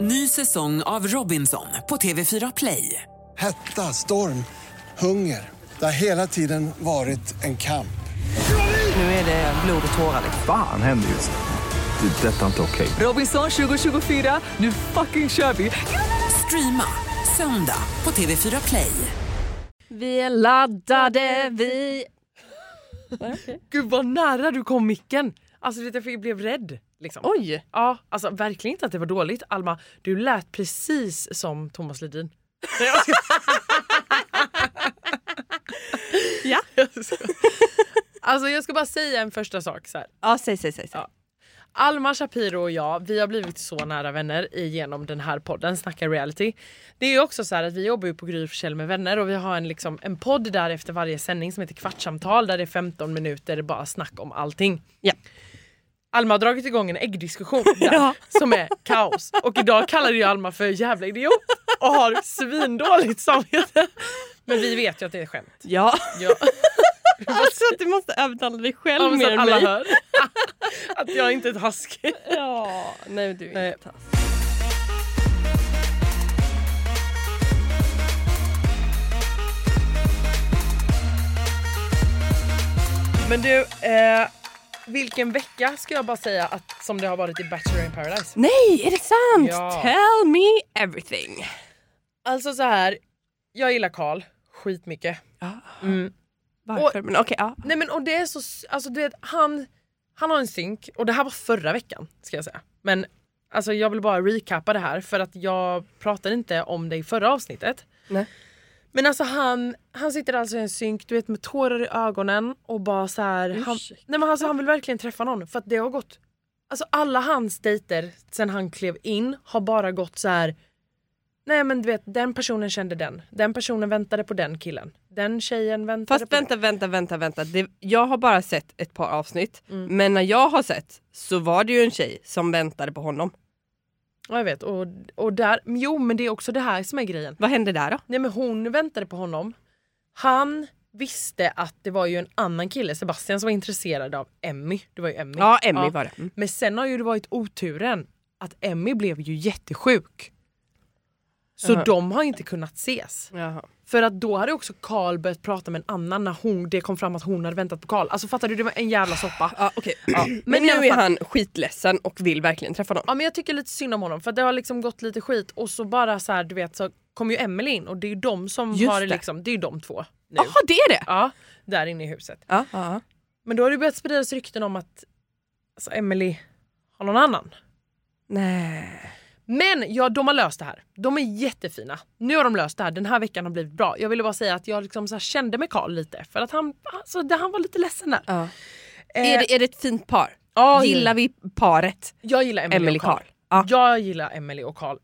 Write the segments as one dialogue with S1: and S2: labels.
S1: Ny säsong av Robinson på TV4 Play.
S2: Hetta, storm, hunger. Det har hela tiden varit en kamp.
S1: Nu är det blod och tårar.
S3: Fan händer just nu. Det. är Detta är inte okej.
S1: Robinson 2024, nu fucking kör vi! Streama söndag på TV4 Play.
S4: Vi är laddade, vi...
S5: Gud vad nära du kom micken! Alltså vet, du, jag fick- blev rädd. Liksom.
S4: Oj!
S5: Ja, alltså verkligen inte att det var dåligt. Alma, du lät precis som Thomas Ledin.
S4: Ja.
S5: Alltså jag ska bara säga en första sak. Så här.
S4: Ja, säg, säg, säg. säg.
S5: Ja. Alma Shapiro och jag, vi har blivit så nära vänner genom den här podden Snacka reality. Det är ju också så här att vi jobbar ju på Gry Forssell med vänner och vi har en, liksom, en podd där efter varje sändning som heter Kvartssamtal där det är 15 minuter bara snack om allting.
S4: Ja.
S5: Alma har dragit igång en äggdiskussion där,
S4: Ja.
S5: som är kaos. Och idag kallade jag Alma för jävla idiot och har svindåligt samvete. Men vi vet ju att det är skämt.
S4: ja.
S5: Ja.
S4: Alltså att du måste övertala dig själv
S5: Ja, men så
S4: mer
S5: att
S4: än
S5: alla
S4: mig.
S5: hör att jag inte är taskig.
S4: Ja, nej men du är
S5: Nej.
S4: inte taskig.
S5: Men du, eh, vilken vecka ska jag bara säga att, som det har varit i Bachelor in paradise?
S4: Nej, är det sant?
S5: Ja.
S4: Tell me everything.
S5: Alltså så här, jag gillar Karl skitmycket.
S4: Varför? men okej, ja.
S5: Nej men och det är så, alltså du vet han, han har en synk och det här var förra veckan ska jag säga. Men alltså jag vill bara recappa det här för att jag pratade inte om det i förra avsnittet.
S4: Nej.
S5: Men alltså han, han sitter alltså i en synk du vet med tårar i ögonen och bara så här, han,
S4: Ursäkta.
S5: nej men alltså, han vill verkligen träffa någon för att det har gått, alltså alla hans dejter sen han klev in har bara gått så här Nej men du vet den personen kände den, den personen väntade på den killen, den tjejen väntade
S4: Fast
S5: på den.
S4: vänta, vänta, vänta, vänta. Det, jag har bara sett ett par avsnitt. Men när jag har sett så var det ju en tjej som väntade på honom.
S5: Ja jag vet och, och där, men jo men det är också det här som är grejen.
S4: Vad hände där då?
S5: Nej men hon väntade på honom. Han visste att det var ju en annan kille, Sebastian, som var intresserad av Emmy. Det var ju Emmy.
S4: Ja, Emmy var det. Mm.
S5: Men sen har ju det varit oturen att Emmy blev ju jättesjuk. Så
S4: Jaha.
S5: de har inte kunnat ses.
S4: Jaha.
S5: För att då hade också Karl börjat prata med en annan när hon, det kom fram att hon hade väntat på Karl. Alltså fattar du, det var en jävla soppa.
S4: Ja, okej. Men,
S5: Men i alla
S4: nu är
S5: fall-
S4: han skitledsen och vill verkligen träffa någon.
S5: Ja men jag tycker lite synd om honom för att det har liksom gått lite skit och så bara så här du vet så kom ju Emelie in och det är ju de som
S4: Just
S5: har det
S4: det.
S5: liksom, det är ju de två nu.
S4: Jaha, det är det?
S5: Ja, där inne i huset.
S4: Ja. ja.
S5: Men då har det börjat spridas rykten om att alltså, Emelie har någon annan.
S4: Nej.
S5: Men ja, de har löst det här. De är jättefina. Nu har de löst det här. Den här veckan har blivit bra. Jag ville bara säga att jag liksom så här kände med Karl lite för att han, alltså, det- han var lite ledsen där.
S4: Ja.
S5: Eh,
S4: Är, det, är det ett fint par?
S5: ja,
S4: Gillar vi paret
S5: Jag gillar Emelie,
S4: Emily
S5: och Karl.
S4: Karl? Ja.
S5: Jag gillar Emelie och Karl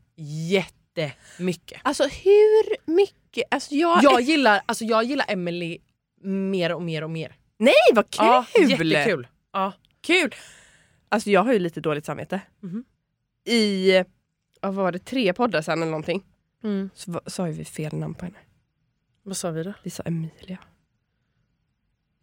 S5: jättemycket.
S4: Alltså hur mycket? Alltså jag...
S5: Jag gillar, alltså, jag gillar Emelie mer och mer och mer.
S4: Nej vad kul!
S5: Ja, jättekul. Ja.
S4: Kul! Alltså jag har ju lite dåligt samvete.
S5: Mhm.
S4: I, ja, vad var det, tre poddar sen eller någonting så va- sa ju vi fel namn på henne.
S5: Mm. Vad sa vi då?
S4: Vi sa Emilia.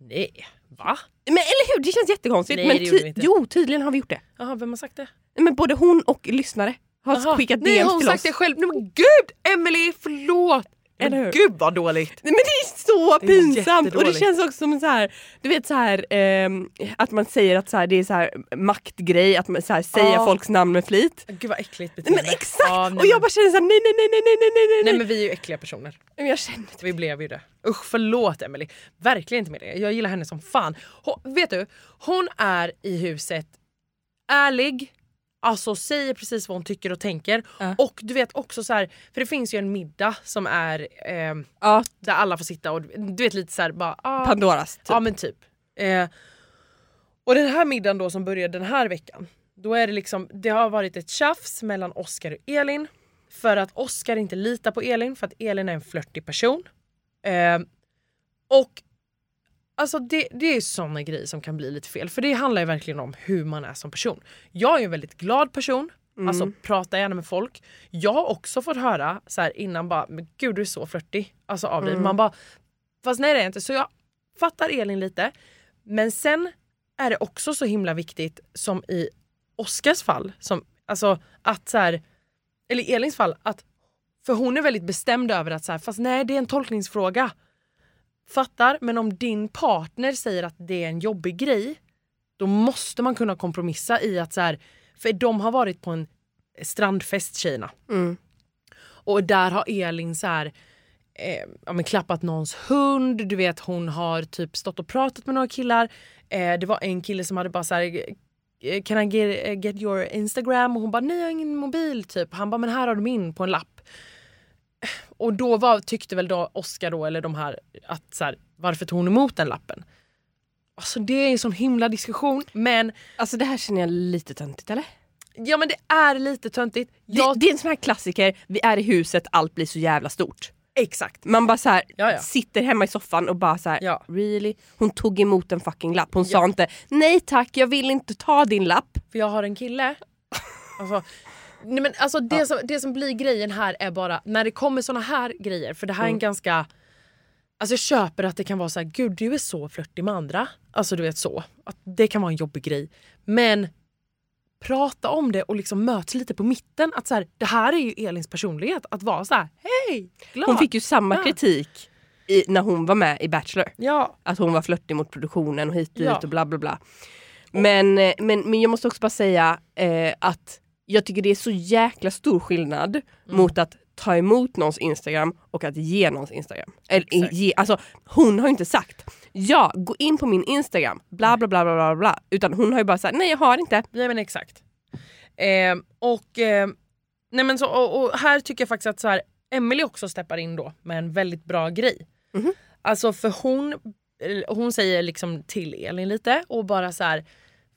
S5: Nej, va?
S4: Men eller hur? Det känns jättekonstigt.
S5: Nej,
S4: men
S5: det gjorde vi inte.
S4: Jo, tydligen har vi gjort det.
S5: Jaha, vem har sagt det?
S4: Nej, Men både hon och lyssnare har
S5: Jaha.
S4: skickat
S5: Nej,
S4: DMs
S5: hon
S4: till
S5: sagt
S4: oss.
S5: det själv. Nej, men gud! Emelie, förlåt!
S4: Eller
S5: Men
S4: hur?
S5: gud vad dåligt!
S4: Nej, Men det är så
S5: Det är
S4: pinsamt! Och det
S5: jättedåligt.
S4: känns också som en så här, du vet så här, ehm, att man säger att så här, det är så här maktgrej, att man så här, säger
S5: Ja.
S4: folks namn med flit.
S5: Gud vad äckligt
S4: Nej,
S5: beteende.
S4: men exakt!
S5: Ja, nej,
S4: och jag
S5: men-
S4: bara känner såhär nej, nej, nej, nej, nej, nej, nej,
S5: Nej men vi är ju äckliga personer.
S4: Men jag känner typ-
S5: Vi blev ju det. Usch förlåt Emily. Verkligen inte med det. Jag gillar henne som fan. Hon, vet du, hon är i huset ärlig, alltså säger precis vad hon tycker och tänker.
S4: Ja.
S5: Och du vet också så här, för det finns ju en middag som är ehm,
S4: Ja,
S5: där alla får sitta och du vet lite så här bara... ah,
S4: Pandoras typ.
S5: Ja men typ. Eh, och den här middagen då som börjar den här veckan. Då är det liksom, det har varit ett tjafs mellan Oscar och Elin. För att Oscar inte litar på Elin för att Elin är en flörtig person. Eh, och alltså det, det är sådana grejer som kan bli lite fel. För det handlar ju verkligen om hur man är som person. Jag är ju en väldigt glad person. Alltså prata gärna med folk. Jag har också fått höra så här innan bara, men gud du är så flörtig. Alltså av dig. Man bara, fast nej det är jag inte. Så jag fattar Elin lite. Men sen är det också så himla viktigt som i Oscars fall, som, alltså att så här, eller i Elins fall, att för hon är väldigt bestämd över att så här, fast nej det är en tolkningsfråga. Fattar, men om din partner säger att det är en jobbig grej, då måste man kunna kompromissa i att så här, för de har varit på en strandfest tjejerna. Och där har Elin så här, eh, ja, men klappat någons hund, du vet hon har typ stått och pratat med några killar. Eh, det var en kille som hade bara så här, eh, can I get, eh, get your Instagram? Och hon bara, nej jag har ingen mobil typ. Han bara, men här har du min på en lapp. Eh, Och då var, tyckte väl då Oscar då, eller de här, att så här, varför tog hon emot den lappen? Alltså det är en sån himla diskussion, men
S4: Alltså det här känner jag lite töntigt eller?
S5: ja men det är lite töntigt. Jag,
S4: Det, det är en sån här klassiker, vi är i huset, allt blir så jävla stort.
S5: Exakt.
S4: Man bara så här,
S5: Ja, ja.
S4: sitter hemma i soffan och bara så här,
S5: Ja.
S4: really? Hon tog emot en fucking lapp, hon sa
S5: Ja.
S4: inte nej tack jag vill inte ta din lapp.
S5: För jag har en kille. Alltså, nej men alltså det, som, det som blir grejen här är bara när det kommer såna här grejer, för det här
S4: Mm.
S5: är en ganska... Alltså jag köper att det kan vara så här, gud du är så flörtig med andra. Alltså du vet så. Att det kan vara en jobbig grej. Men prata om det och liksom möts lite på mitten. Att så här, det här är ju Elins personlighet. Att vara så här, hej, glad.
S4: Hon fick ju samma
S5: Ja.
S4: kritik i, när hon var med i Bachelor.
S5: Ja,
S4: Att hon var flörtig mot produktionen och hit och dit
S5: Ja.
S4: och bla bla bla. Men, eh, men, men jag måste också bara säga eh, att jag tycker det är så jäkla stor skillnad
S5: Mm.
S4: mot att ta emot någons Instagram och att ge någons Instagram. Eller,
S5: Exakt.
S4: ge, alltså, hon har ju inte sagt ja, gå in på min Instagram, bla bla bla bla bla. bla. Utan hon har ju bara sagt nej jag har inte.
S5: nej men exakt. Eh, och, eh, nej men så, och, och här tycker jag faktiskt att så här, Emily också steppar in då med en väldigt bra grej. Alltså för hon, eller hon säger liksom till Elin lite och bara så här.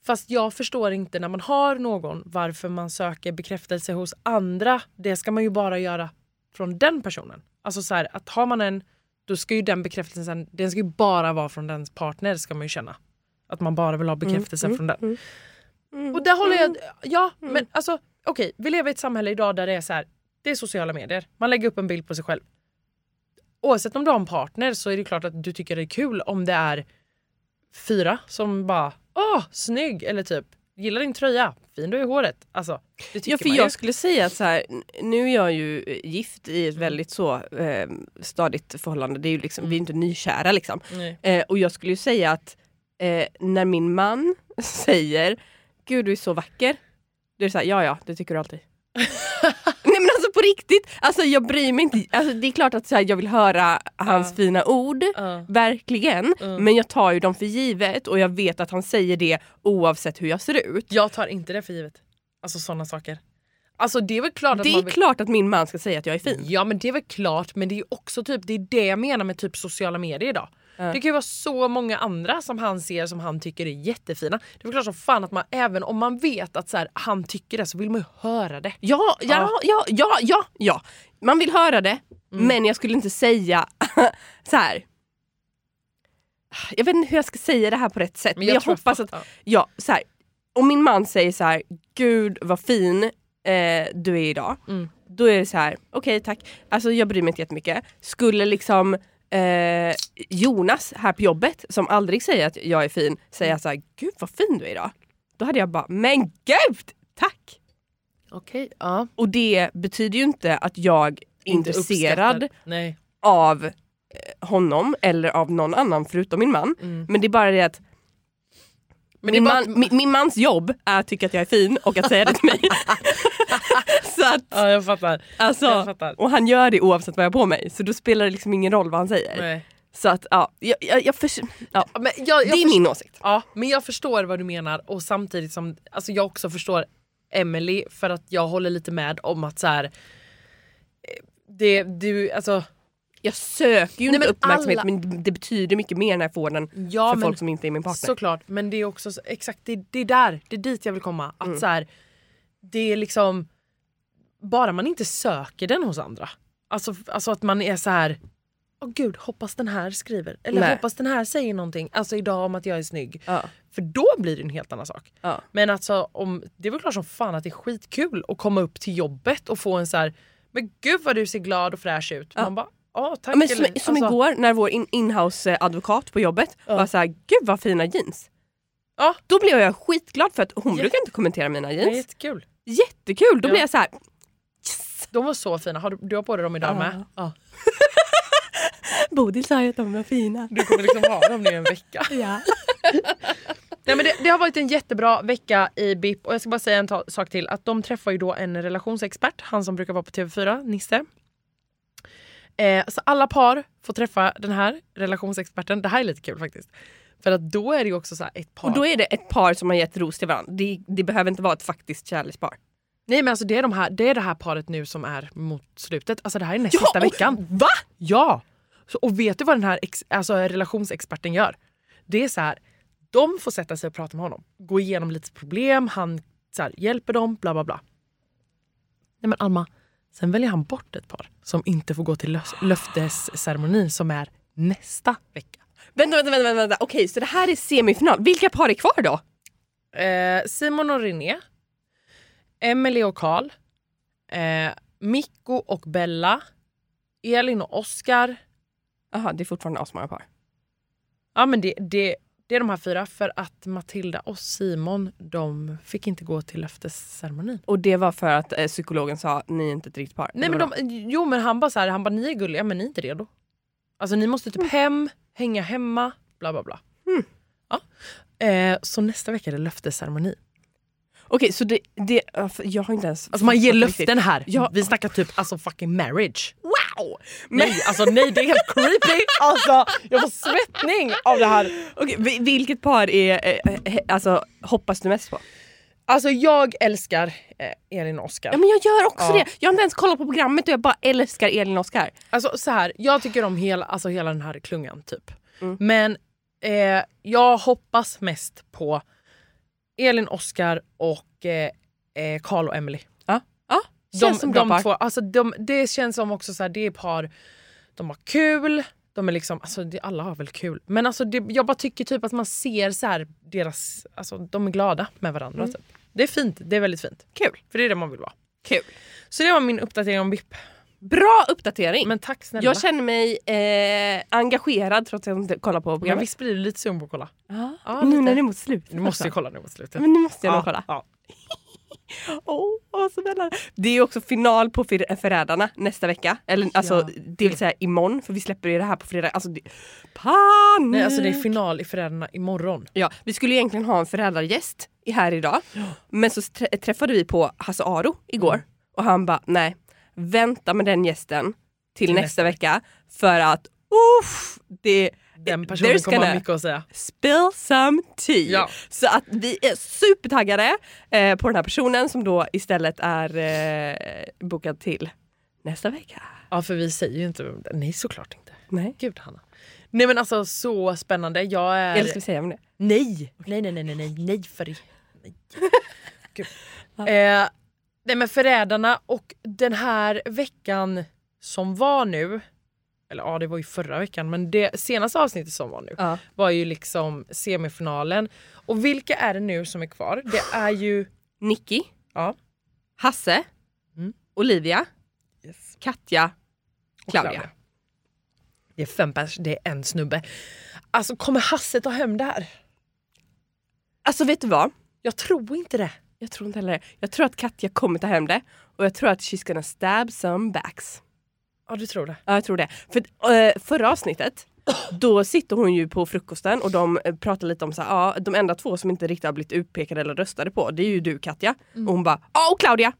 S5: Fast jag förstår inte när man har någon varför man söker bekräftelse hos andra. Det ska man ju bara göra från den personen. Alltså så här att har man en, då ska ju den bekräftelsen, den ska ju bara vara från dens partner ska man ju känna. Att man bara vill ha bekräftelsen från den. Och där håller jag, ja men alltså okej, vi lever i ett samhälle idag där det är så här, det är sociala medier. Man lägger upp en bild på sig själv oavsett om du har en partner så är det klart att du tycker det är kul om det är fyra som bara åh snygg eller typ gillar din tröja, fin du är i håret. Alltså, det tycker
S4: Ja, för
S5: man ju.
S4: jag skulle säga att så här, n- nu är jag ju eh, gift i ett
S5: Mm.
S4: väldigt så eh, stadigt förhållande. Det är ju liksom,
S5: Mm.
S4: Vi är inte nykära liksom.
S5: Nej.
S4: Eh, och jag skulle ju säga att eh, när min man säger Gud du är så vacker. Då är det såhär, ja ja det tycker du alltid. Nej men alltså på riktigt, alltså jag bryr mig inte. Alltså, det är klart att så här, jag vill höra hans fina ord,
S5: Ja.
S4: verkligen. Men jag tar ju dem för givet och jag vet att han säger det oavsett hur jag ser ut.
S5: Jag tar inte det för givet. Alltså sådana saker. Alltså det är väl klart
S4: Det
S5: att
S4: är
S5: man vill...
S4: klart att min man ska säga att jag är fin.
S5: Ja men det är väl klart men det är ju också typ det är det jag menar med typ sociala medier idag. Det kan ju vara så många andra som han ser som han tycker är jättefina. Det är väl klart som fan att man även om man vet att så här, han tycker det så vill man ju höra det.
S4: Ja, ja, ja, Mm. ja, ja, ja. Man vill höra det, men jag skulle inte säga så här. Jag vet inte hur jag ska säga det här på rätt sätt, men
S5: jag
S4: jag,
S5: tror jag
S4: hoppas att...
S5: fattar.
S4: Ja, så här, om min man säger så här, gud vad fin eh, du är idag. Då är det så här, okej tack. Alltså jag bryr mig inte jättemycket. Skulle liksom eh, Jonas här på jobbet, som aldrig säger att jag är fin, säga så här, gud vad fin du är idag. Då hade jag bara, men gud, tack!
S5: Okej, ja.
S4: Och det betyder ju inte att jag är intresserad
S5: uppskattad. Nej.
S4: av eh, honom eller av någon annan förutom min man. Men det är bara det att
S5: Men
S4: min,
S5: Mm. det är bara-
S4: man, min, min mans jobb är att tycka att jag är fin och att säga det till mig. så att,
S5: Ja, jag fattar. jag
S4: alltså,
S5: fattar.
S4: och han gör det oavsett vad jag har på mig så då spelar det liksom ingen roll vad han säger.
S5: Nej.
S4: Så att ja, jag, jag, jag förs- ja.
S5: Ja, Men jag,
S4: det
S5: jag
S4: är
S5: förstår-
S4: min åsikt.
S5: Ja, men jag förstår vad du menar och samtidigt som alltså jag också förstår Emily för att jag håller lite med om att så här eh, det du alltså
S4: Jag söker ju
S5: Nej,
S4: inte
S5: men
S4: uppmärksamhet
S5: alla-
S4: men det betyder mycket mer när jag får den
S5: Ja,
S4: för
S5: men-
S4: folk som inte är min partner.
S5: Såklart, men det är också så- exakt det, det är där, det är dit jag vill komma. Att
S4: Mm.
S5: så här, det är liksom bara man inte söker den hos andra. Alltså, alltså att man är så här Åh gud, hoppas den här skriver. Eller
S4: Nej.
S5: hoppas den här säger någonting. Alltså idag om att jag är snygg.
S4: Ja.
S5: För då blir det en helt annan sak.
S4: Ja.
S5: Men alltså, om, det är väl klart som fan att det är skitkul att komma upp till jobbet och få en så här Men gud vad du ser glad och fräsch ut. Man bara, ja tack.
S4: Ja, men som,
S5: eller-
S4: som
S5: alltså,
S4: igår när vår in- inhouse-advokat på jobbet var såhär, gud vad fina jeans.
S5: Ja.
S4: Då blev jag skitglad för att hon
S5: Ja.
S4: brukar inte kommentera mina
S5: Det är
S4: jeans.
S5: jättekul.
S4: Jättekul! Då
S5: Ja.
S4: blev jag så här. Yes!
S5: De var så fina. Har du, du har på dig dem idag med? Ja.
S4: Bodil sa ju att de var fina.
S5: Du kommer liksom ha dem nu i en vecka.
S4: Ja.
S5: Nej, men det, det har varit en jättebra vecka i BIP och jag ska bara säga en ta- sak till. Att de träffar ju då en relationsexpert, han som brukar vara på TV4, Nisse. Eh, så alla par får träffa den här relationsexperten. Det här är lite kul faktiskt. För att då är det ju också så här ett par.
S4: Och då är det ett par som har gett ros till varandra. Det, det behöver inte vara ett faktiskt kärlekspar.
S5: Nej men alltså det är, de här, det är det här paret nu som är mot slutet. Alltså det här är näst sista veckan.
S4: Va?
S5: Ja! Så, och vet du vad den här ex, alltså, relationsexperten gör? Det är så här, de får sätta sig och prata med honom. Gå igenom lite problem, han så här, hjälper dem, bla bla bla. Nej men Alma, sen väljer han bort ett par som inte får gå till lös- löftesceremonin som är nästa vecka.
S4: Vänta, vänta, vänta, vänta. vänta. Okej, så det här är semifinal. Vilka par är kvar då?
S5: Eh, Simon och René, Emelie och Karl, eh, Mikko och Bella, Elin och Oskar,
S4: Jaha, det är fortfarande asmånga par.
S5: Ja men det, det, det är de här fyra för att Matilda och Simon de fick inte gå till löftesceremonin.
S4: Och det var för att eh, psykologen sa ni är inte ett riktigt par.
S5: Nej men de, jo men han bara så här, han bara ni är gulliga men ni är inte redo. Alltså ni måste typ hem, hänga hemma, bla bla bla. Ja. Eh, så nästa vecka är det löftesceremoni.
S4: Okej, så det... det ja, för jag har inte ens...
S5: Alltså man ger
S4: fattat
S5: löften
S4: riktigt.
S5: här.
S4: Ja.
S5: Vi snackar typ alltså fucking marriage.
S4: Wow! Men,
S5: Nej alltså nej det är helt creepy. Alltså jag får svettning av det här.
S4: Okej, vi- vilket par är, eh, eh, alltså, hoppas du mest på?
S5: Alltså jag älskar eh, Elin och Oskar.
S4: Ja men jag gör också
S5: Ja.
S4: det. Jag har inte ens kollat på programmet och jag bara älskar Elin och Oscar.
S5: Alltså så här, jag tycker om hela, alltså, hela den här klungan typ. Men eh, jag hoppas mest på Elin, Oskar och eh, eh, Carl och Emily.
S4: Ja. ja
S5: De,
S4: känns som bra
S5: de
S4: par.
S5: två, alltså, de, det känns som också så här, det är par, de har kul, de är liksom, alltså det, alla har väl kul. Men alltså det, jag bara tycker typ att man ser så här deras, alltså de är glada med varandra typ. Det är fint, det är väldigt fint.
S4: Mm. Kul.
S5: För det är det man vill vara.
S4: Kul. Mm.
S5: Så det var min uppdatering om BIP.
S4: Bra uppdatering.
S5: Men tack snälla.
S4: jag känner mig eh, engagerad trots att jag inte kollar på
S5: Ja,
S4: programmet.
S5: visst blir du lite sugen på att kolla?
S4: Ja,
S5: Ja,
S4: nu
S5: lite.
S4: när det är mot slut.
S5: Du måste ju
S4: också.
S5: kolla nu mot slutet.
S4: Men nu måste jag nog kolla.
S5: Ja.
S4: Åh, vad spännande. Det är ju också final på För- Förrädarna nästa vecka. Eller alltså,
S5: Ja.
S4: det vill säga imorgon för vi släpper ju det här på fredag. Alltså, det... Panik!
S5: Nej, alltså det är final i Föräldrarna imorgon.
S4: Ja, vi skulle egentligen ha en föräldrargäst i- här idag. Men så trä- träffade vi på Hasse Aro igår
S5: Mm.
S4: och han bara nej, vänta med den gästen till nästa,
S5: nästa
S4: vecka för att uff, det
S5: Den personen
S4: there's
S5: kommer
S4: gonna
S5: ha mycket att säga.
S4: spill some tea.
S5: Ja.
S4: Så att vi är supertaggade eh, på den här personen som då istället är eh, bokad till nästa vecka.
S5: Ja för vi säger ju inte vem det Nej såklart inte.
S4: Nej,
S5: Gud Hanna. Nej men alltså så spännande. Jag är...
S4: eller ska vi säga om det?
S5: Nej! Nej nej nej nej nej, nej för i- nej. Gud. Eh, nej men Förrädarna och den här veckan som var nu. Eller ja det var ju förra veckan men det senaste avsnittet som var nu.
S4: Ja.
S5: var ju liksom semifinalen. Och vilka är det nu som är kvar? Det är ju...
S4: Nicky,
S5: Ja.
S4: Hasse,
S5: Mm.
S4: Olivia, Katja,
S5: och
S4: Claudia.
S5: Det är fem pers, det är en snubbe. Alltså kommer Hasse ta hem det här?
S4: Alltså vet du vad?
S5: Jag tror inte det.
S4: Jag tror inte heller det. Jag tror att Katja kommer ta hem det och jag tror att she's gonna stab some backs.
S5: Ja du tror det?
S4: Ja, jag tror det. För eh, förra avsnittet, då sitter hon ju på frukosten och de eh, pratar lite om så här, ja, de enda två som inte riktigt har blivit utpekade eller röstade på, det är ju du Katja.
S5: Mm.
S4: Och hon bara, ja och Claudia!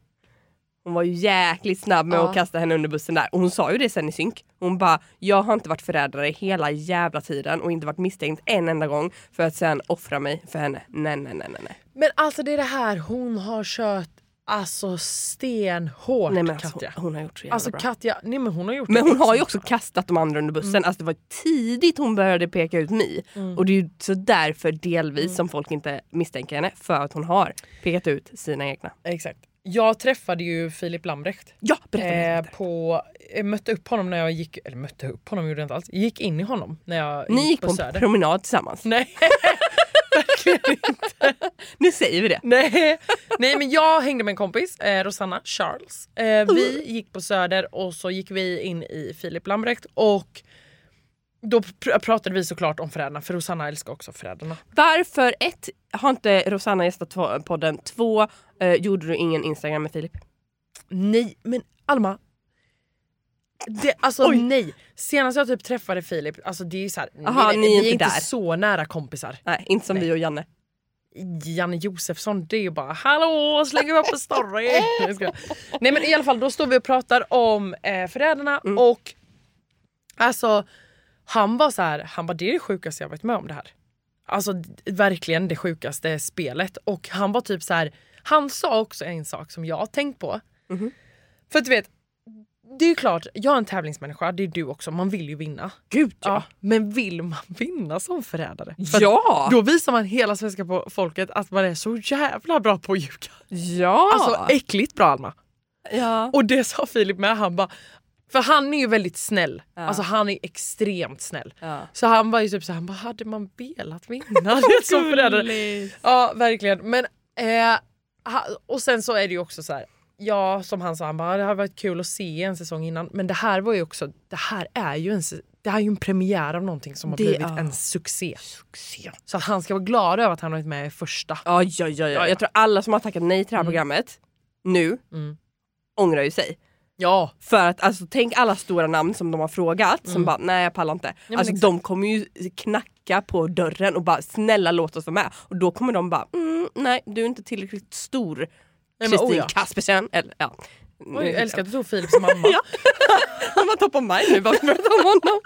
S4: Hon var ju jäkligt snabb med
S5: Ja.
S4: att kasta henne under bussen där. Och hon sa ju det sen i synk. Hon bara, jag har inte varit förrädare hela jävla tiden och inte varit misstänkt en enda gång för att sen offra mig för henne. Nej, nej, nej, nej. nej.
S5: Men alltså det är det här hon har kört alltså stenhårt
S4: nej men alltså,
S5: Katja.
S4: Hon, hon har gjort så jävla
S5: Alltså
S4: bra.
S5: Katja, nej men hon har gjort
S4: Men
S5: det
S4: hon har ju också
S5: extra bra.
S4: kastat de andra under bussen. Alltså det var tidigt hon började peka ut mig. Och det är ju så därför delvis som folk inte misstänker henne. För att hon har pekat ut sina egna.
S5: Exakt. Jag träffade ju Filip Lambrecht.
S4: Ja, berätta.
S5: Eh,
S4: berätta.
S5: på, eh, mötte upp honom när jag gick, eller mötte upp honom gjorde jag inte alls, gick in i honom när jag
S4: Ni gick på Mm. en
S5: Söder.
S4: promenad tillsammans.
S5: Nej, verkligen inte.
S4: Nu säger vi det.
S5: Nej. Nej men jag hängde med en kompis, eh, Rosanna Charles. Eh, vi
S4: Mm.
S5: gick på Söder och så gick vi in i Filip Lambrecht och då pr- pratade vi såklart om föräldrarna för Rosanna älskar också föräldrarna.
S4: Varför ett, har inte Rosanna gästat två- podden? Två, eh, gjorde du ingen Instagram med Filip?
S5: Nej, men Alma. Det, alltså nej. Senast jag typ träffade Filip, alltså det är ju såhär,
S4: Aha,
S5: vi,
S4: ni är
S5: vi
S4: inte
S5: inte
S4: där.
S5: så nära kompisar.
S4: Nej, inte som vi och Janne.
S5: Janne Josefsson, det är ju bara hallå, slänger upp en story. Jag skojar. Nej men i alla fall, då står vi och pratar om eh, förrädarna
S4: Mm.
S5: och alltså han var så här, han bara det är det sjukaste jag varit med om det här. Alltså d- verkligen det sjukaste spelet och han var typ så här, han sa också en sak som jag har tänkt på.
S4: Mhm.
S5: För att du vet, det är ju klart, jag är en tävlingsmänniska, det är du också, man vill ju vinna.
S4: Gud
S5: Ja, men vill man vinna som förrädare? För att
S4: Ja!
S5: då visar man hela svenska po- folket att man är så jävla bra på att ljuga.
S4: Ja!
S5: Alltså äckligt bra Alma.
S4: ja.
S5: Och det sa Filip med. Han bara, för han är ju väldigt snäll. Alltså han är extremt snäll.
S4: Ja.
S5: Så han var ju typ så här, han bara, hade man velat vinna? Liksom, Det som förälder. Ja verkligen. Men, eh, ha, och sen så är det ju också så här. Ja som han sa, han bara, det hade varit kul att se en säsong innan. Men det här var ju också, det här är ju en, se- det här är ju en premiär av någonting som har
S4: Det-
S5: blivit
S4: ja.
S5: en succé. succé. Så att han ska vara glad över att han har varit med i första.
S4: Ja, ja, ja, ja. Mm.
S5: ja.
S4: Jag tror alla som har tackat nej till det här programmet nu
S5: Mm.
S4: ångrar ju sig.
S5: Ja.
S4: För att alltså, tänk alla stora namn som de har frågat som bara nej jag pallar inte.
S5: Mm. men
S4: alltså
S5: exakt.
S4: de kommer ju knacka på dörren och bara snälla låt oss vara med. Och då kommer de bara mm, nej du är inte tillräckligt stor
S5: men,
S4: Kristin
S5: oh ja.
S4: Kaspersen. Eller, ja. Mm.
S5: Oj, jag älskar att du tog Philips mamma.
S4: Han var top of mind nu bara för att prata om honom.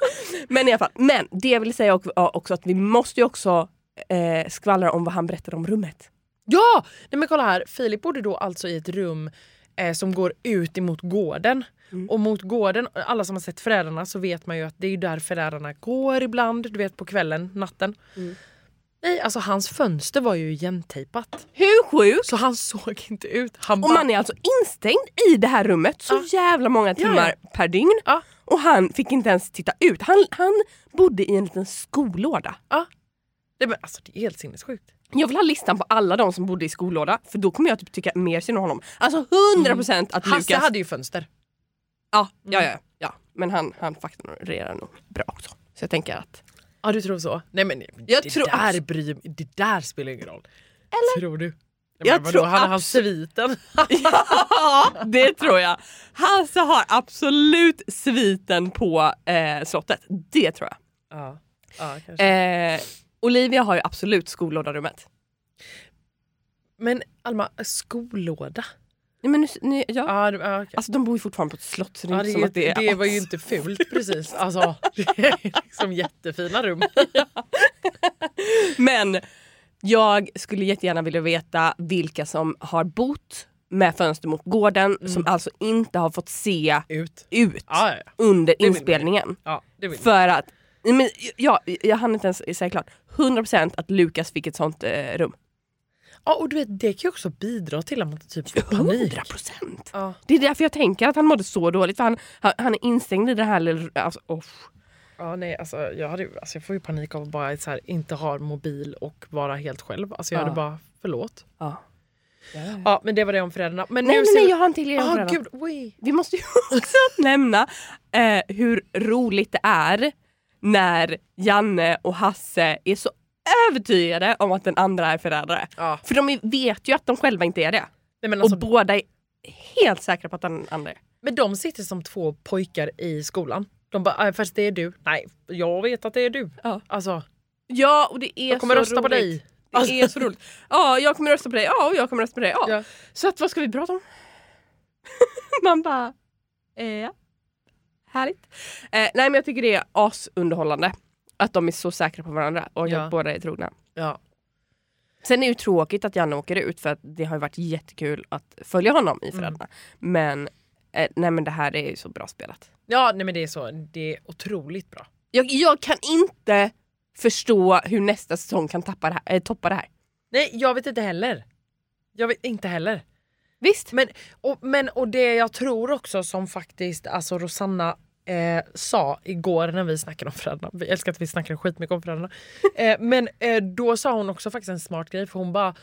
S4: Men i alla fall, men det jag vill säga också- också att vi måste ju också eh, skvallra om vad han berättade om rummet.
S5: Ja! Nej men kolla här, Filip bodde då alltså i ett rum eh, som går ut emot gården.
S4: Mm.
S5: Och mot gården, alla som har sett Förrädarna så vet man ju att det är ju där Förrädarna går ibland, du vet på kvällen, natten.
S4: Mm.
S5: Nej, alltså hans fönster var ju igentejpat.
S4: Hur sjukt?
S5: Så han såg inte ut. Han
S4: Och
S5: bara-
S4: man är alltså instängd i det här rummet så jävla många timmar
S5: Ja,
S4: per dygn.
S5: Ja.
S4: Och han fick inte ens titta ut. Han, han bodde i en liten skolåda.
S5: Nej, men, alltså det är helt sinnessjukt.
S4: Jag vill ha listan på alla de som bodde i skolåda för då kommer jag typ tycka mer synd om honom. Alltså 100% att
S5: Hasse
S4: Lukas...
S5: hade ju fönster.
S4: Ja, ja, ja, ja. Men han, han fakturerar nog bra också. Så jag tänker att...
S5: Ja du tror så? Nej men nej,
S4: Jag
S5: det,
S4: tror
S5: där
S4: abs-
S5: bryr, det där spelar ingen roll. Eller? Tror du? Nej, men
S4: Jag
S5: vadå,
S4: tror
S5: han, han
S4: abs-
S5: sviten.
S4: Ja, det tror jag. Hasse har absolut sviten på eh, slottet. Det tror jag.
S5: ja. Ja, kanske.
S4: Eh, Olivia har ju absolut skolådarummet.
S5: Men Alma, skolåda?
S4: Nej, men nu, nu, ja.
S5: Ja, det- ja, okej.
S4: Alltså de bor ju fortfarande på ett slott så det är
S5: ja,
S4: inte
S5: det,
S4: som
S5: är
S4: att
S5: ju-
S4: det är...
S5: det var ju inte fult precis. Alltså, det är liksom jättefina rum.
S4: Men jag skulle jättegärna vilja veta vilka som har bott med fönster mot gården som alltså inte har fått se
S5: Ut.
S4: ut
S5: Mm. Ja, ja, ja.
S4: under
S5: vill man ju.
S4: inspelningen.
S5: ja det vill jag.
S4: För att, nej, men, ja, jag hann inte ens säga klart, 100% att Lukas fick ett sånt eh, rum.
S5: Ja, och du vet, det kan ju också bidra till att man typ får panik.
S4: 100%!
S5: Ja,
S4: Det är därför jag tänker att han mådde så dåligt för han, han, han är instängd i det här lilla... Alltså, oh.
S5: ja, nej, alltså, jag, hade, ju- alltså, jag får ju panik av att bara så här, inte ha mobil och vara helt själv. Alltså, jag
S4: Ja.
S5: hade bara, förlåt.
S4: ja.
S5: Ja, men det var det om föräldrarna. Men
S4: Nej,
S5: nu
S4: nej,
S5: ser
S4: nej,
S5: vi-
S4: jag har en till er
S5: Ah,
S4: förälder.
S5: gud, oj.
S4: Vi måste ju också nämna eh, hur roligt det är när Janne och Hasse är så övertygade om att den andra är förrädare.
S5: Ja.
S4: För de vet ju att de själva inte är det.
S5: Nej, men, alltså,
S4: och båda är helt säkra på att den andra är
S5: men de sitter som två pojkar i skolan. De bara, "Ah, fast det är du. Nej, jag vet att det är du.
S4: Ja.
S5: Alltså,
S4: Ja, och det är
S5: jag kommer
S4: så
S5: rösta
S4: roligt.
S5: på dig.
S4: Det är så roligt. Ja, jag kommer rösta på dig. Ja, och jag kommer rösta på dig. Ja.
S5: Ja.
S4: Så att, vad ska vi prata om? Man bara... Eh, härligt. Eh, nej, men jag tycker det är asunderhållande. Att de är så säkra på varandra och
S5: Ja.
S4: att båda är trogna.
S5: Ja.
S4: Sen är det ju tråkigt att Janne åker ut för att det har ju varit jättekul att följa honom i Föräldrarna. Men, eh, nej, men det här är ju så bra spelat.
S5: ja, nej men det är så. Det är otroligt bra.
S4: Jag, jag kan inte förstå hur nästa säsong kan tappa det här, eh, toppa det här.
S5: Nej, jag vet inte heller. Jag vet inte heller.
S4: Visst?
S5: Men och, men, och det jag tror också som faktiskt alltså Rosanna eh, sa igår när vi snackade om föräldrarna. Vi älskar att vi snackade skitmycket om föräldrarna. Eh, men eh, då sa hon också faktiskt en smart grej för hon bara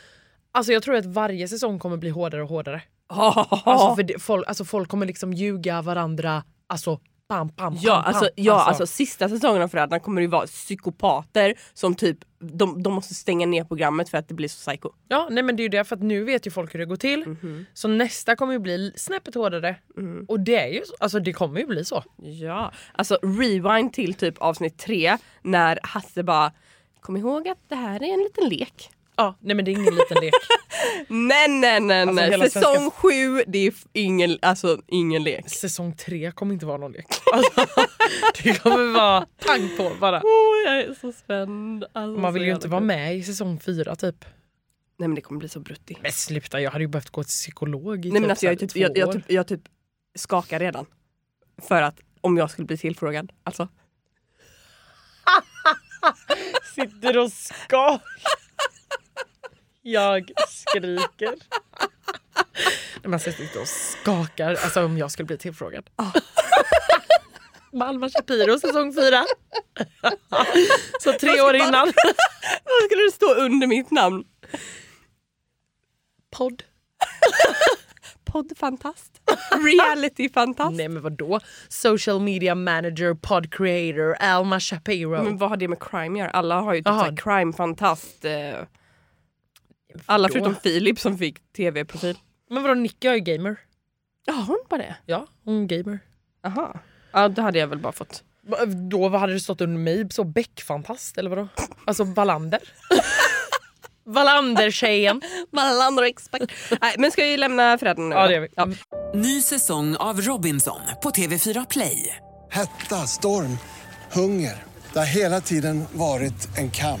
S5: Alltså jag tror att varje säsong kommer bli hårdare och hårdare.
S4: Ja.
S5: Alltså, för det, folk, alltså folk kommer liksom ljuga varandra alltså Bam, bam,
S4: Ja,
S5: bam,
S4: alltså,
S5: bam.
S4: ja alltså. sista säsongen av Förrädarna kommer det ju vara psykopater som typ, de, de måste stänga ner programmet för att det blir så psyko.
S5: Ja, nej men det är ju det för att nu vet ju folk hur det går till.
S4: Mhm.
S5: Så nästa kommer ju bli snäppet hårdare.
S4: Mm.
S5: Och det är ju så, alltså det kommer ju bli så.
S4: Ja, alltså rewind till typ avsnitt tre när Hasse bara Kom ihåg att det här är en liten lek.
S5: Ja, nej men det är ingen liten lek.
S4: Nej nej nej
S5: Alltså,
S4: nej,
S5: hela
S4: säsong
S5: svenska-
S4: sju det är f- ingen, alltså, ingen lek.
S5: Säsong tre kommer inte vara någon lek. Alltså, det kommer vara pang på bara.
S4: Åh jag är så spänd. Alltså,
S5: Man vill
S4: Oh, så
S5: ju
S4: jävla
S5: inte
S4: kul.
S5: vara med i säsong fyra typ.
S4: Nej men det kommer bli så bruttig.
S5: Men sluta, jag hade ju behövt gå till psykolog i
S4: Nej men alltså
S5: så
S4: jag,
S5: här
S4: är typ,
S5: två
S4: jag, jag,
S5: år.
S4: typ, jag typ skakar redan. För att om jag skulle bli tillfrågad. Alltså.
S5: sitter och skakar. Jag skriker. Nej, men alltså, jag sitter och skakar. Alltså om jag skulle bli tillfrågad. Malma Shapiro säsong fyra. Så tre år innan.
S4: Vad skulle det stå under mitt namn?
S5: Podd.
S4: Poddfantast. Realityfantast.
S5: Nej men vadå? Social media manager, pod creator, Alma Shapiro.
S4: Men vad har det med crime att göra? Alla har ju typ
S5: Jaha.
S4: såhär crime-fantast. Eh, alla
S5: Då?
S4: förutom Filip som fick tv-profil.
S5: Men vadå Nicky är ju gamer.
S4: Ja, hon var det?
S5: Ja, hon är gamer.
S4: Jaha. Ja, då hade jag väl bara fått.
S5: Va- Då vad hade det stått under mig? Så Beck-fantast eller vadå? Alltså Wallander? Wallander-tjejen.
S4: Wallander expert. Nej, men ska vi lämna föräldrarna nu?
S5: Ja,
S4: då?
S5: det gör vi. Mm.
S1: Ny säsong av Robinson på TV4 Play.
S2: Hetta, storm, hunger. Det har hela tiden varit en kamp.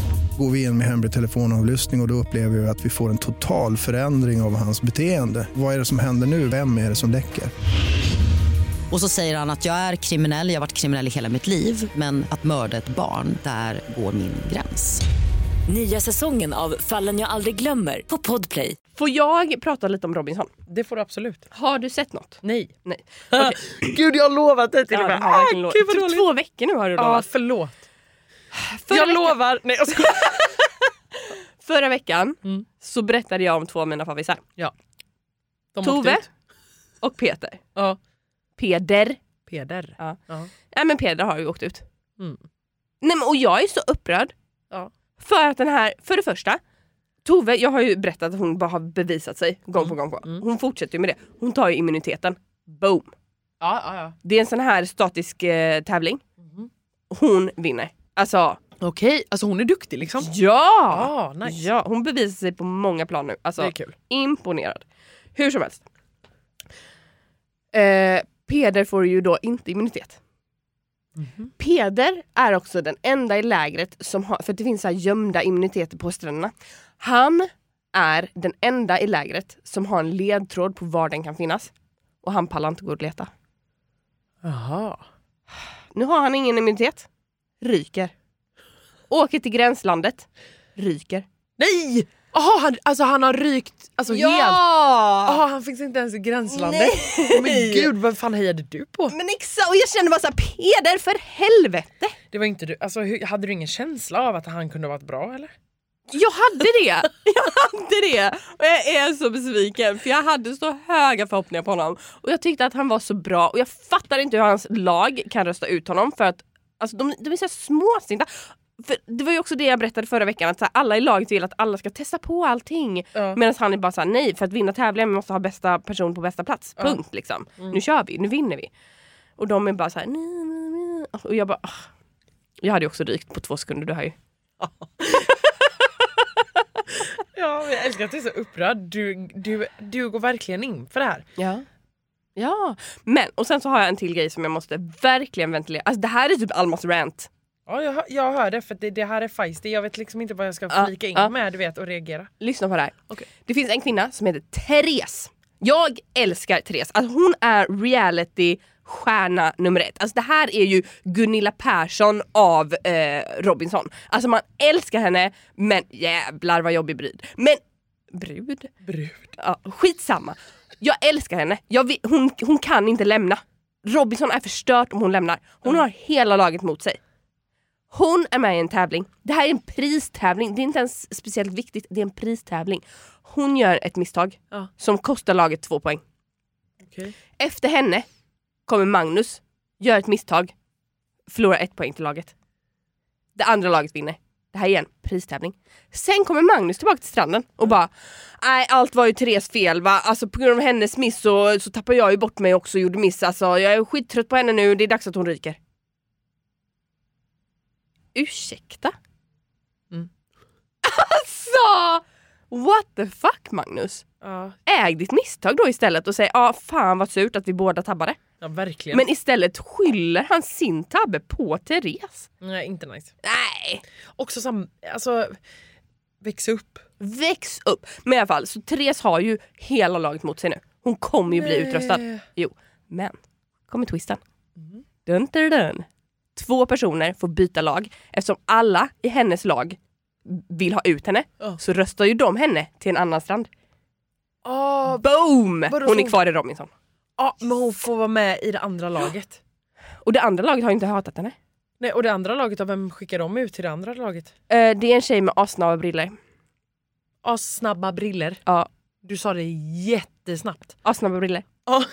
S6: går vi in med hemlig telefonavlyssning och, och då upplever vi att vi får en total förändring av hans beteende. Vad är det som händer nu? Vem är det som läcker?
S7: Och så säger han att jag är kriminell, jag har varit kriminell i hela mitt liv men att mörda ett barn, där går min gräns.
S8: Nya säsongen av Fallen jag aldrig glömmer på Podplay.
S4: Får jag prata lite om Robinson?
S5: Det får du absolut.
S4: Har du sett något?
S5: Nej.
S4: Nej.
S5: Gud jag har lovat det till
S4: Ja,
S5: och
S4: det
S5: med.
S4: har jag
S5: Ah,
S4: verkligen
S5: Gud vad
S4: lovat. Typ
S5: dåligt.
S4: två veckor nu har du
S5: Ja
S4: lovat.
S5: förlåt.
S4: Förra
S5: jag
S4: veckan-
S5: lovar. Nej jag skojar. Mm.
S4: Förra veckan så berättade jag om två av mina favoriter.
S5: Ja. De åkte
S4: Tove
S5: ut.
S4: och Peter.
S5: Ja.
S4: Peder.
S5: Peder.
S4: Ja.
S5: Ja.
S4: Nej men Peder har ju åkt ut.
S5: Mm.
S4: Nej, men, och jag är så upprörd.
S5: Ja.
S4: För att den här, för det första, Tove, jag har ju berättat att hon bara har bevisat sig gång
S5: Mm.
S4: på gång. På. Hon fortsätter ju med det. Hon tar ju immuniteten. Boom.
S5: Ja, ja, ja.
S4: Det är en sån här statisk eh, tävling.
S5: Mm-hmm.
S4: Hon vinner. Alltså,
S5: Okej, alltså hon är duktig liksom.
S4: ja!
S5: Ah, nice.
S4: Ja, hon bevisar sig på många plan nu. Alltså,
S5: Det är kul.
S4: Imponerad. Hur som helst. Eh, Peder får ju då inte immunitet. Peder är också den enda i lägret som har, för att det finns så här gömda immuniteter på stränderna. Han är den enda i lägret som har en ledtråd på var den kan finnas. Och han pallar inte gå och leta.
S5: Jaha.
S4: Nu har han ingen immunitet. Ryker. Åker till gränslandet. Ryker.
S5: Nej! Jaha, han, alltså han har rykt alltså, helt.
S4: Ja!
S5: Jaha, han finns inte ens i gränslandet. Men gud, vad fan hejade du på?
S4: Men exakt, och jag känner bara såhär Peder för helvete!
S5: Det var inte du. Alltså, hur, hade du ingen känsla av att han kunde ha varit bra eller?
S4: Jag hade det! Jag hade det! Och jag är så besviken för jag hade så höga förhoppningar på honom. Och jag tyckte att han var så bra och jag fattar inte hur hans lag kan rösta ut honom för att alltså, de, de är så här småsinta. För det var ju också det jag berättade förra veckan att så här, alla i laget vill att alla ska testa på allting.
S5: Ja.
S4: Medan han är bara såhär nej för att vinna tävlingen måste ha bästa person på bästa plats.
S5: Ja.
S4: Punkt liksom. Nu kör vi, nu vinner vi. Och de är bara såhär nej, nej, nej. Och jag bara ah. Jag hade ju också rykt på två sekunder, du hör ju.
S5: Ja, men jag älskar att du är så upprörd. Du, du, du går verkligen in för det här.
S4: Ja. Ja, men och sen så har jag en till grej som jag måste verkligen ventilera. Alltså det här är typ Almas rant.
S5: Ja, jag, hör- jag hör det för det, det här är feisty. Jag vet liksom inte vad jag ska
S4: Ja,
S5: flika in
S4: ja.
S5: med du vet, och reagera.
S4: Lyssna på det här.
S5: Okej.
S4: Det finns en kvinna som heter Therese. Jag älskar Therese. Alltså hon är reality stjärna nummer ett. Alltså det här är ju Gunilla Persson av eh, Robinson. Alltså man älskar henne men jävlar vad jobbig brud. Men brud?
S5: Brud.
S4: Ja, skitsamma. Jag älskar henne. Jag vet, hon, hon kan inte lämna. Robinson är förstört om hon lämnar. Hon har hela laget mot sig. Hon är med i en tävling. Det här är en pristävling. Det är inte ens speciellt viktigt. Det är en pristävling. Hon gör ett misstag
S5: Ja.
S4: som kostar laget två poäng.
S5: Okej.
S4: Efter henne kommer Magnus, gör ett misstag, förlorar ett poäng till laget. Det andra laget vinner. Det här är igen pristävling. Sen kommer Magnus tillbaka till stranden och bara Nej allt var ju Therese fel va, alltså på grund av hennes miss så, så tappade jag ju bort mig också och gjorde miss. Alltså jag är skittrött på henne nu, det är dags att hon ryker. Ursäkta?
S5: Mm.
S4: Alltså! What the fuck Magnus?
S5: Ja.
S4: äg ditt misstag då istället och säg ja ah, fan vad surt att vi båda tabbade.
S5: ja, verkligen.
S4: Men istället skyller han sin tabbe på Therese.
S5: Nej, inte nice.
S4: Nej,
S5: Också sam... Alltså, växa upp.
S4: väx upp. Men i alla fall, så Therese har ju hela laget mot sig nu. Hon kommer ju bli utröstad.
S5: Eh,
S4: Jo, men kommer twisten.
S5: Mm.
S4: Dun, dun, dun. Två personer får byta lag eftersom alla i hennes lag vill ha ut henne
S5: Ja.
S4: så röstar ju de henne till en annan strand.
S5: Ja,
S4: Boom!
S5: Vadå,
S4: Hon
S5: så
S4: är
S5: hon-
S4: kvar i Robinson.
S5: ja, men hon får vara med i det andra laget.
S4: Och det andra laget har ju inte hatat henne.
S5: Nej, och det andra laget, av vem skickar de ut till det andra laget?
S4: Eh, det är en tjej med assnabba briller.
S5: Ja, snabba briller.
S4: Ja,
S5: Du sa det jättesnabbt.
S4: assnabba briller.
S5: Ja.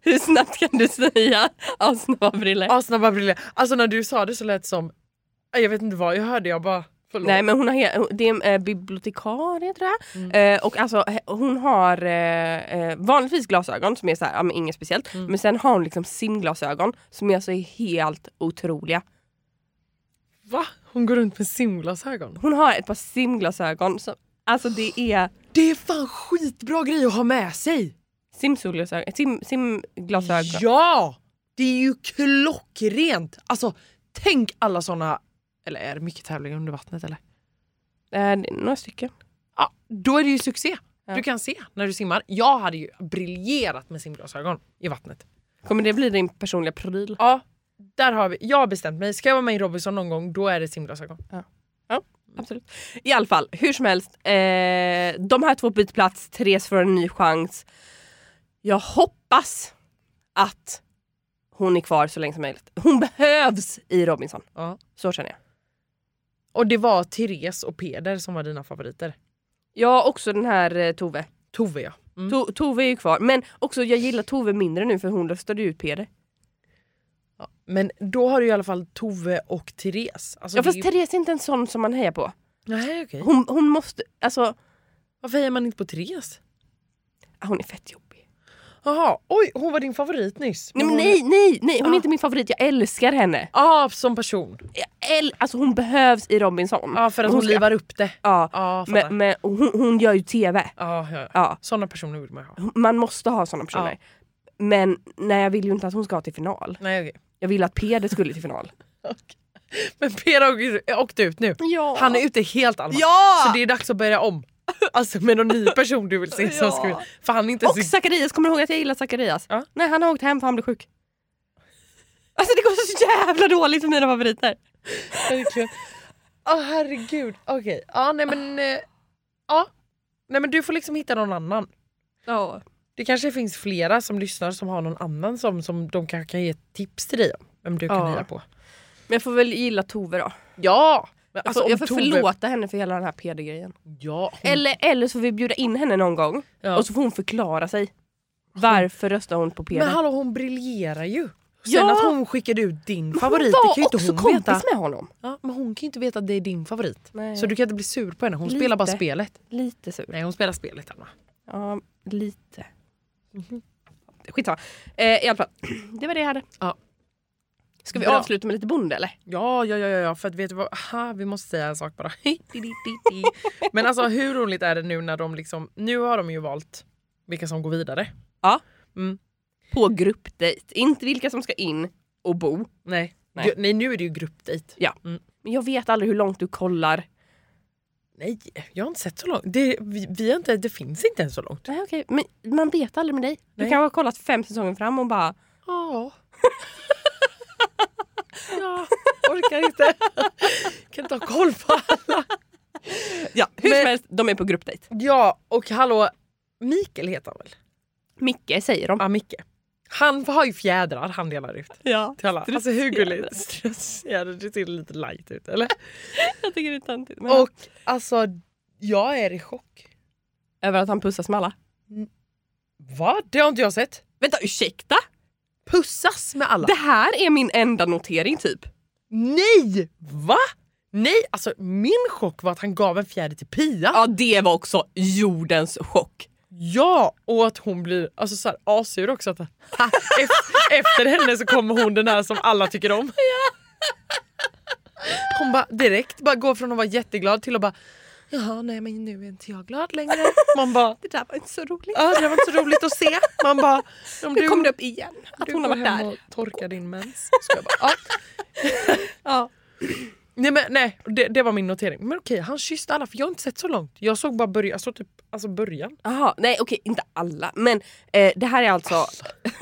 S4: Hur snabbt kan du säga assnabba briller?
S5: Ja, snabba briller. Alltså när du sa det så lät det som... Ja, Jag vet inte vad jag hörde, jag bara... Förlåt. Mm.
S4: Nej men hon har he- det är en eh, bibliotekarie tror jag. Eh, och alltså he- hon har eh, eh, vanligtvis glasögon som är så här, ja, men inget speciellt.
S5: Mm.
S4: Men sen har hon liksom simglasögon som är alltså helt otroliga.
S5: Va? Hon går runt med simglasögon.
S4: Hon har ett par simglasögon som, alltså det är
S5: Det är fan skitbra grej att ha med sig!
S4: simsolglasögon, sim, simglasögon.
S5: Ja! Det är ju klockrent! Alltså, tänk alla såna... Eller är det mycket tävlingar under vattnet eller?
S4: Eh, det är några stycken.
S5: Ja, då är det ju succé.
S4: Ja.
S5: Du kan se när du simmar. Jag hade ju briljerat med simglasögon i vattnet.
S4: Kommer det bli din personliga pryl?
S5: Ja, där har vi. Jag har bestämt mig. Ska jag vara med i Robinson någon gång, då är det simglasögon.
S4: Absolut. I alla fall, hur som helst. Eh, de här två byter plats, Therese får en ny chans. Jag hoppas att hon är kvar så länge som möjligt. Hon behövs i Robinson.
S5: Ja.
S4: Så känner jag.
S5: Och det var Therese och Peder som var dina favoriter.
S4: Ja, också den här eh, Tove.
S5: Tove ja. Mm.
S4: To- Tove är ju kvar, men också jag gillar Tove mindre nu för hon röstade ju ut Peder.
S5: ja. Men då har du i alla fall Tove och Therese. Alltså,
S4: Ja,
S5: det är
S4: fast
S5: ju-
S4: Therese är inte en sån som man hejar på.
S5: Nej, okej.
S4: Hon, hon måste, alltså
S5: Varför hejar man inte på Therese?
S4: ah, hon är fett jobbig.
S5: Jaha, oj hon var din favorit nyss.
S4: Nej, men
S5: hon-
S4: nej, nej, nej, hon är
S5: Ja.
S4: inte min favorit. Jag älskar henne.
S5: Ja, som person.
S4: Jag äl- alltså hon behövs i Robinson.
S5: Ja, för att hon,
S4: ska-
S5: livar upp det.
S4: Ja,
S5: Ja, fattar.
S4: men, men hon, hon gör ju tv.
S5: Ja, ja, ja.
S4: Ja,
S5: Såna personer vill man ju ha.
S4: man måste ha såna personer. Men nej, jag vill ju inte att hon ska till final.
S5: Nej, okej.
S4: Jag vill att Peder skulle till final.
S5: Men Peder har åkt ut nu.
S4: Ja.
S5: Han är ute helt Alma.
S4: Ja!
S5: Så det är dags att börja om. Alltså med någon ny person du vill se som
S4: Ja.
S5: ska vinna. För han är inte
S4: Och
S5: ens...
S4: Zacharias, kommer du ihåg att jag gillar Zacharias?
S5: Ja.
S4: Nej, han har åkt hem för han blev sjuk. Alltså det går så jävla dåligt för mina favoriter.
S5: Verkligen. Åh herregud. Okej. Ja nej men... eh, Ja. Nej men du får liksom hitta någon annan.
S4: Ja.
S5: Det kanske finns flera som lyssnar som har någon annan som, som de kanske kan ge tips till dig om. Vem du kan
S4: Ja.
S5: heja på.
S4: Men jag får väl gilla Tove då.
S5: Ja! Men alltså,
S4: Jag får,
S5: om
S4: Alltså, jag får
S5: Tove-
S4: förlåta henne för hela den här Peder-grejen.
S5: Ja, hon,
S4: Mm. Eller, eller så får vi bjuda in henne någon gång
S5: ja.
S4: och så får hon förklara sig. Varför röstar hon på Peder?
S5: Men hallå hon briljerar ju. Sen
S4: Ja.
S5: att hon skickade ut din
S4: Men
S5: favorit,
S4: hon
S5: det
S4: var
S5: kan ju inte
S4: också
S5: hon
S4: kompis
S5: veta.
S4: med honom.
S5: Ja, men hon kan ju inte veta att det är din favorit.
S4: Nej.
S5: Så du kan inte bli sur på henne, hon spelar bara
S4: Lite.
S5: spelet.
S4: Lite sur.
S5: Nej hon spelar spelet Anna.
S4: Ja, lite. Mhm. Skitsamma. Eh, I alla fall, det var det jag hade.
S5: Ja.
S4: Ska vi
S5: Bra.
S4: avsluta med lite bonde eller?
S5: Ja, ja, ja, ja, ja, för att vet du vad? Aha, vi måste säga en sak bara. men alltså hur roligt är det nu när de liksom, nu har de ju valt vilka som går vidare.
S4: På gruppdejt. Inte vilka som ska in och bo.
S5: Nej.
S4: Nej.
S5: Nej, Nej nu är det ju gruppdejt.
S4: Men jag vet aldrig hur långt du kollar.
S5: Nej, jag har inte sett så långt. Det, vi, vi har inte, det finns inte ens så långt.
S4: Nej okej, men man vet aldrig med dig. Du
S5: Nej.
S4: kan ha kollat fem säsonger fram och bara
S5: Ja. ja, orkar inte. Kan inte ha koll på alla.
S4: Ja, hur
S5: Men-
S4: som helst, de är på gruppdejt.
S5: Ja, och hallå, Mikael heter han väl?
S4: Micke säger de.
S5: Ja, Micke. Han har ju fjädrar han delar ut
S4: Ja.
S5: till alla. Alltså hur gulligt? Stressfjädrar, det ser lite light ut eller?
S4: Jag tycker det är töntigt. men-
S5: Och alltså, jag är i chock.
S4: Över att han pussas med alla.
S5: Va? Det har inte jag sett.
S4: Vänta, ursäkta?
S5: Pussas med alla?
S4: Det här är min enda notering typ.
S5: Nej! Va? Nej, alltså min chock var att han gav en fjäder till Pia.
S4: Ja, det var också jordens chock.
S5: Ja, och att hon blir alltså, så här, asur också. Att, efter, efter henne så kommer hon den här som alla tycker om. Hon bara direkt bara går från att vara jätteglad till att bara Jaha, nej men nu är inte jag glad längre. Man bara,
S4: Det där var inte så roligt.
S5: "Ja, det där var inte så roligt att se. Man bara, om
S4: Nu
S5: du,
S4: kom det upp igen att
S5: du
S4: hon har
S5: går
S4: varit
S5: hem
S4: där.
S5: och torkar din mens. Så jag bara, ja.
S4: Ja.
S5: Nej, men, nej det, det var min notering. Men okej, han kysste alla för jag har inte sett så långt. Jag såg bara början, jag såg typ, alltså början.
S4: Aha, nej okej, inte alla. Men eh, det här är alltså...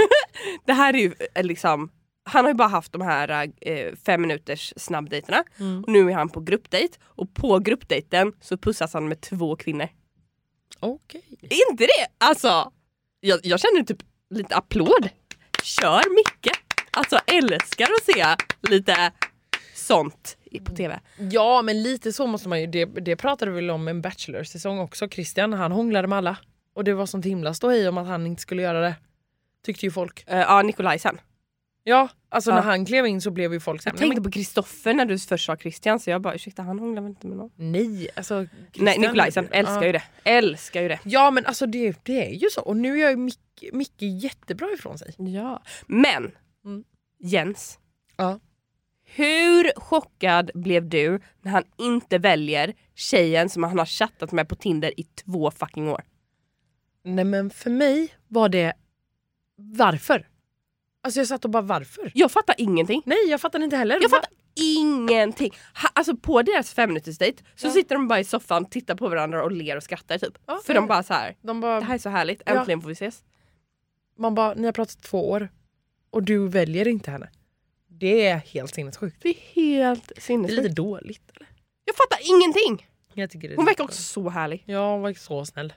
S4: det här är ju eh, liksom... Han har ju bara haft de här eh, fem minuters snabbdejterna.
S5: Mm.
S4: Och nu är han på gruppdejt. Och på gruppdejten så pussas han med två kvinnor.
S5: Okej.
S4: Är inte det? Alltså, jag, jag känner typ lite applåd. Kör Micke! Alltså älskar att se lite sånt i-
S5: Mm.
S4: på tv.
S5: Ja, men lite så måste man ju. Det, det pratade vi väl om en Bachelor-säsong också. Christian, han hånglade med alla. Och det var sånt himla ståhej om att han inte skulle göra det. Tyckte ju folk.
S4: Eh, ja, Nikolajsen.
S5: Ja, alltså
S4: Ja.
S5: när han klev in så blev ju folk
S4: Jag
S5: såhär, nej,
S4: tänkte på Kristoffer när du först sa Christian så jag bara ursäkta han hånglar väl inte med någon?
S5: men nej. Alltså, Christian
S4: Nej Nikolajsen,
S5: är ju-
S4: älskar
S5: ja.
S4: ju det. Älskar ju det.
S5: Ja, men alltså det, det är ju så. Och nu gör ju Micke, Micke jättebra ifrån sig.
S4: Ja. Men
S5: Mm.
S4: Jens.
S5: Ja.
S4: Hur chockad blev du när han inte väljer tjejen som han har chattat med på Tinder i två fucking år?
S5: Nej, men för mig var det varför? Alltså jag satt och bara varför?
S4: Jag fattar ingenting.
S5: Nej, jag fattar inte heller.
S4: Jag fattar ingenting. Ha, alltså på deras femminutersdejt så
S5: Ja.
S4: sitter de bara i soffan, tittar på varandra och ler och skrattar typ.
S5: Ja,
S4: För
S5: ja.
S4: de bara så här.
S5: De bara,
S4: det här är så härligt,
S5: Ja.
S4: äntligen får vi ses.
S5: Man bara, ni har pratat två år och du väljer inte henne. Det är helt sinnessjukt.
S4: Det är helt
S5: Det är lite
S4: sinnessjukt.
S5: dåligt. Eller?
S4: Jag fattar ingenting!
S5: Jag tycker det är
S4: Hon
S5: lite
S4: verkar också så härlig.
S5: dåligt. Ja, hon verkar så snäll.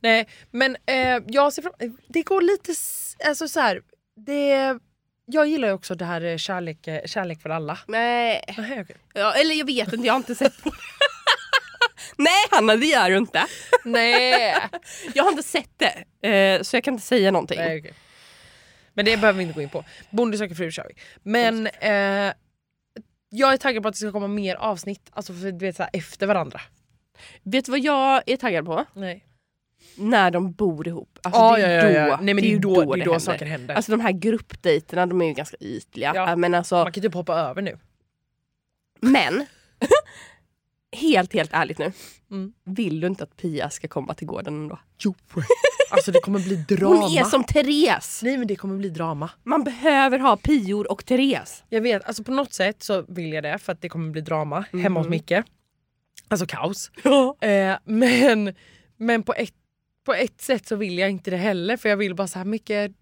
S5: Nej, men eh, jag ser fram eh, Det går lite... s- Alltså så här, det, jag gillar ju också det här eh, kärlek, eh, kärlek för alla.
S4: Nej.
S5: Nej, okej.
S4: Ja, eller jag vet inte, jag har inte sett på det. Nej Hanna det gör du inte.
S5: Nej.
S4: Jag har inte sett det. Eh, så jag kan inte säga någonting.
S5: Nej, okej. Men det behöver vi inte gå in på. Bonde söker fru kör vi. Men eh, jag är taggad på att det ska komma mer avsnitt. Alltså för, du vet, så här, efter varandra.
S4: Vet du vad jag är taggad på?
S5: Nej.
S4: När de bor ihop. Alltså,
S5: Ja,
S4: det
S5: ja,
S4: är
S5: Ah, ja,
S4: då,
S5: ja. Nej, men det är ju då, det är då
S4: händer.
S5: saker händer.
S4: Alltså de här gruppdejterna de är ju ganska ytliga.
S5: Ja.
S4: Äh, Men, alltså,
S5: man kan typ hoppa över nu.
S4: men helt helt ärligt nu.
S5: Mm.
S4: Vill du inte att Pia ska komma till gården ändå?
S5: Jo. Alltså det kommer bli drama.
S4: Hon är som Therese!
S5: Nej men det kommer bli drama.
S4: Man behöver ha Pior och Therese.
S5: Jag vet, alltså på något sätt så vill jag det för att det kommer bli drama hemma
S4: Mhm.
S5: hos Micke. Alltså kaos. Eh, men men på, ett, på ett sätt så vill jag inte det heller för jag vill bara så här mycket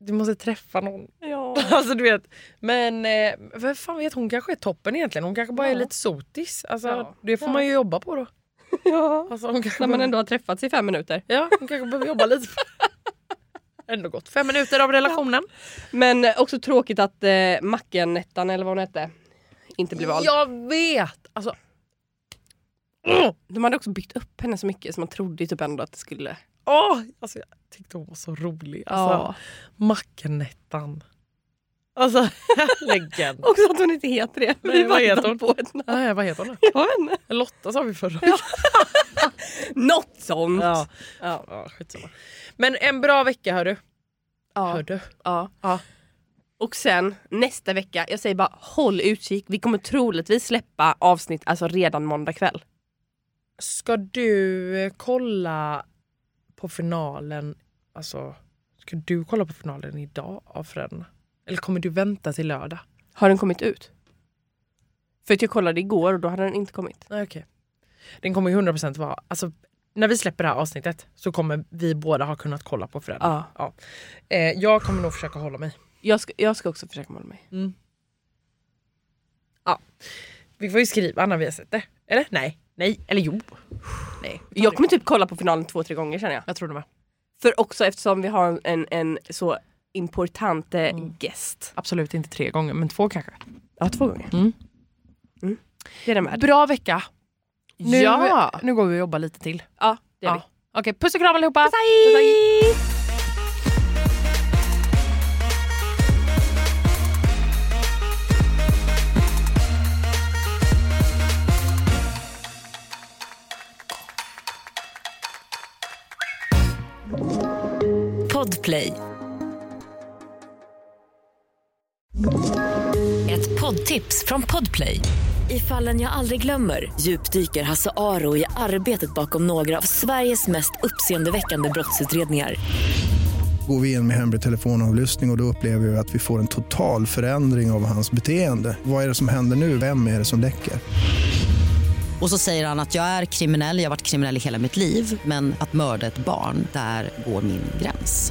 S5: du måste träffa någon.
S4: Ja.
S5: Alltså du vet. Men eh, vem fan vet, hon kanske är toppen egentligen. Hon kanske bara är
S4: Ja.
S5: lite sotis. Alltså,
S4: Ja.
S5: Det får man ju jobba på då.
S4: ja.
S5: Alltså, hon kanske
S4: När man ändå har träffats i fem minuter.
S5: Ja, hon kanske behöver jobba lite. Ändå gått fem minuter av relationen.
S4: Men eh, också tråkigt att eh, Macken-Nettan eller vad hon hette inte blev vald.
S5: Jag vet! Alltså... Åh!
S4: De hade också byggt upp henne så mycket så man trodde ju typ ändå att det skulle...
S5: Åh! Alltså, jag tyckte hon var så rolig. Alltså, Macknettan. Alltså, legend.
S4: Också att hon inte heter det.
S5: Nej, vad heter
S4: väntar
S5: hon?
S4: På ett namn.
S5: Nej, vad heter hon?
S4: Jag vet inte.
S5: då? Lotta sa vi förra veckan.
S4: Något sånt.
S5: Ja.
S4: Ja.
S5: Ja, skitsamma. Men en bra vecka hörru.
S4: Ja.
S5: Hördu.
S4: Ja.
S5: Ja.
S4: Och sen nästa vecka, jag säger bara håll utkik. Vi kommer troligtvis släppa avsnitt alltså redan måndag kväll.
S5: Ska du eh, kolla på finalen? Alltså, ska du kolla på finalen idag av Föräldrarna? Eller kommer du vänta till lördag?
S4: Har den kommit ut? För att jag kollade igår och då hade den inte kommit.
S5: Nej, okej. Den kommer ju 100% vara... Alltså, när vi släpper det här avsnittet så kommer vi båda ha kunnat kolla på föräldrarna.
S4: Ja.
S5: Ja. Eh, jag kommer nog försöka hålla mig.
S4: Jag ska, jag ska också försöka måla mig.
S5: Vi får ju skriva när vi har sett det. Eller? Nej. Nej. Eller jo. Nej.
S4: Jag kommer typ kolla på finalen två, tre gånger känner jag.
S5: Jag tror det med.
S4: För också eftersom vi har en, en så important eh, gäst.
S5: Absolut inte tre gånger, men två kanske.
S4: Ja, två gånger.
S5: Mm.
S4: Mm. Det är den värd.
S5: Bra vecka! Nu,
S4: Ja.
S5: nu går vi och jobbar lite till.
S4: Ja, det är
S5: Ja. Okej, puss och kram allihopa!
S4: vi. Puss, hej!
S8: Podplay. Ett poddtips från Podplay. I fallen jag aldrig glömmer djupdyker Hasse Aro i arbetet bakom några av Sveriges mest uppseendeväckande brottsutredningar.
S6: Går vi in med hemlig telefonavlyssning och, och då upplever vi att vi får en total förändring av hans beteende. Vad är det som händer nu? Vem är det som läcker?
S7: Och så säger han att jag är kriminell, jag har varit kriminell i hela mitt liv men att mörda ett barn, där går min gräns.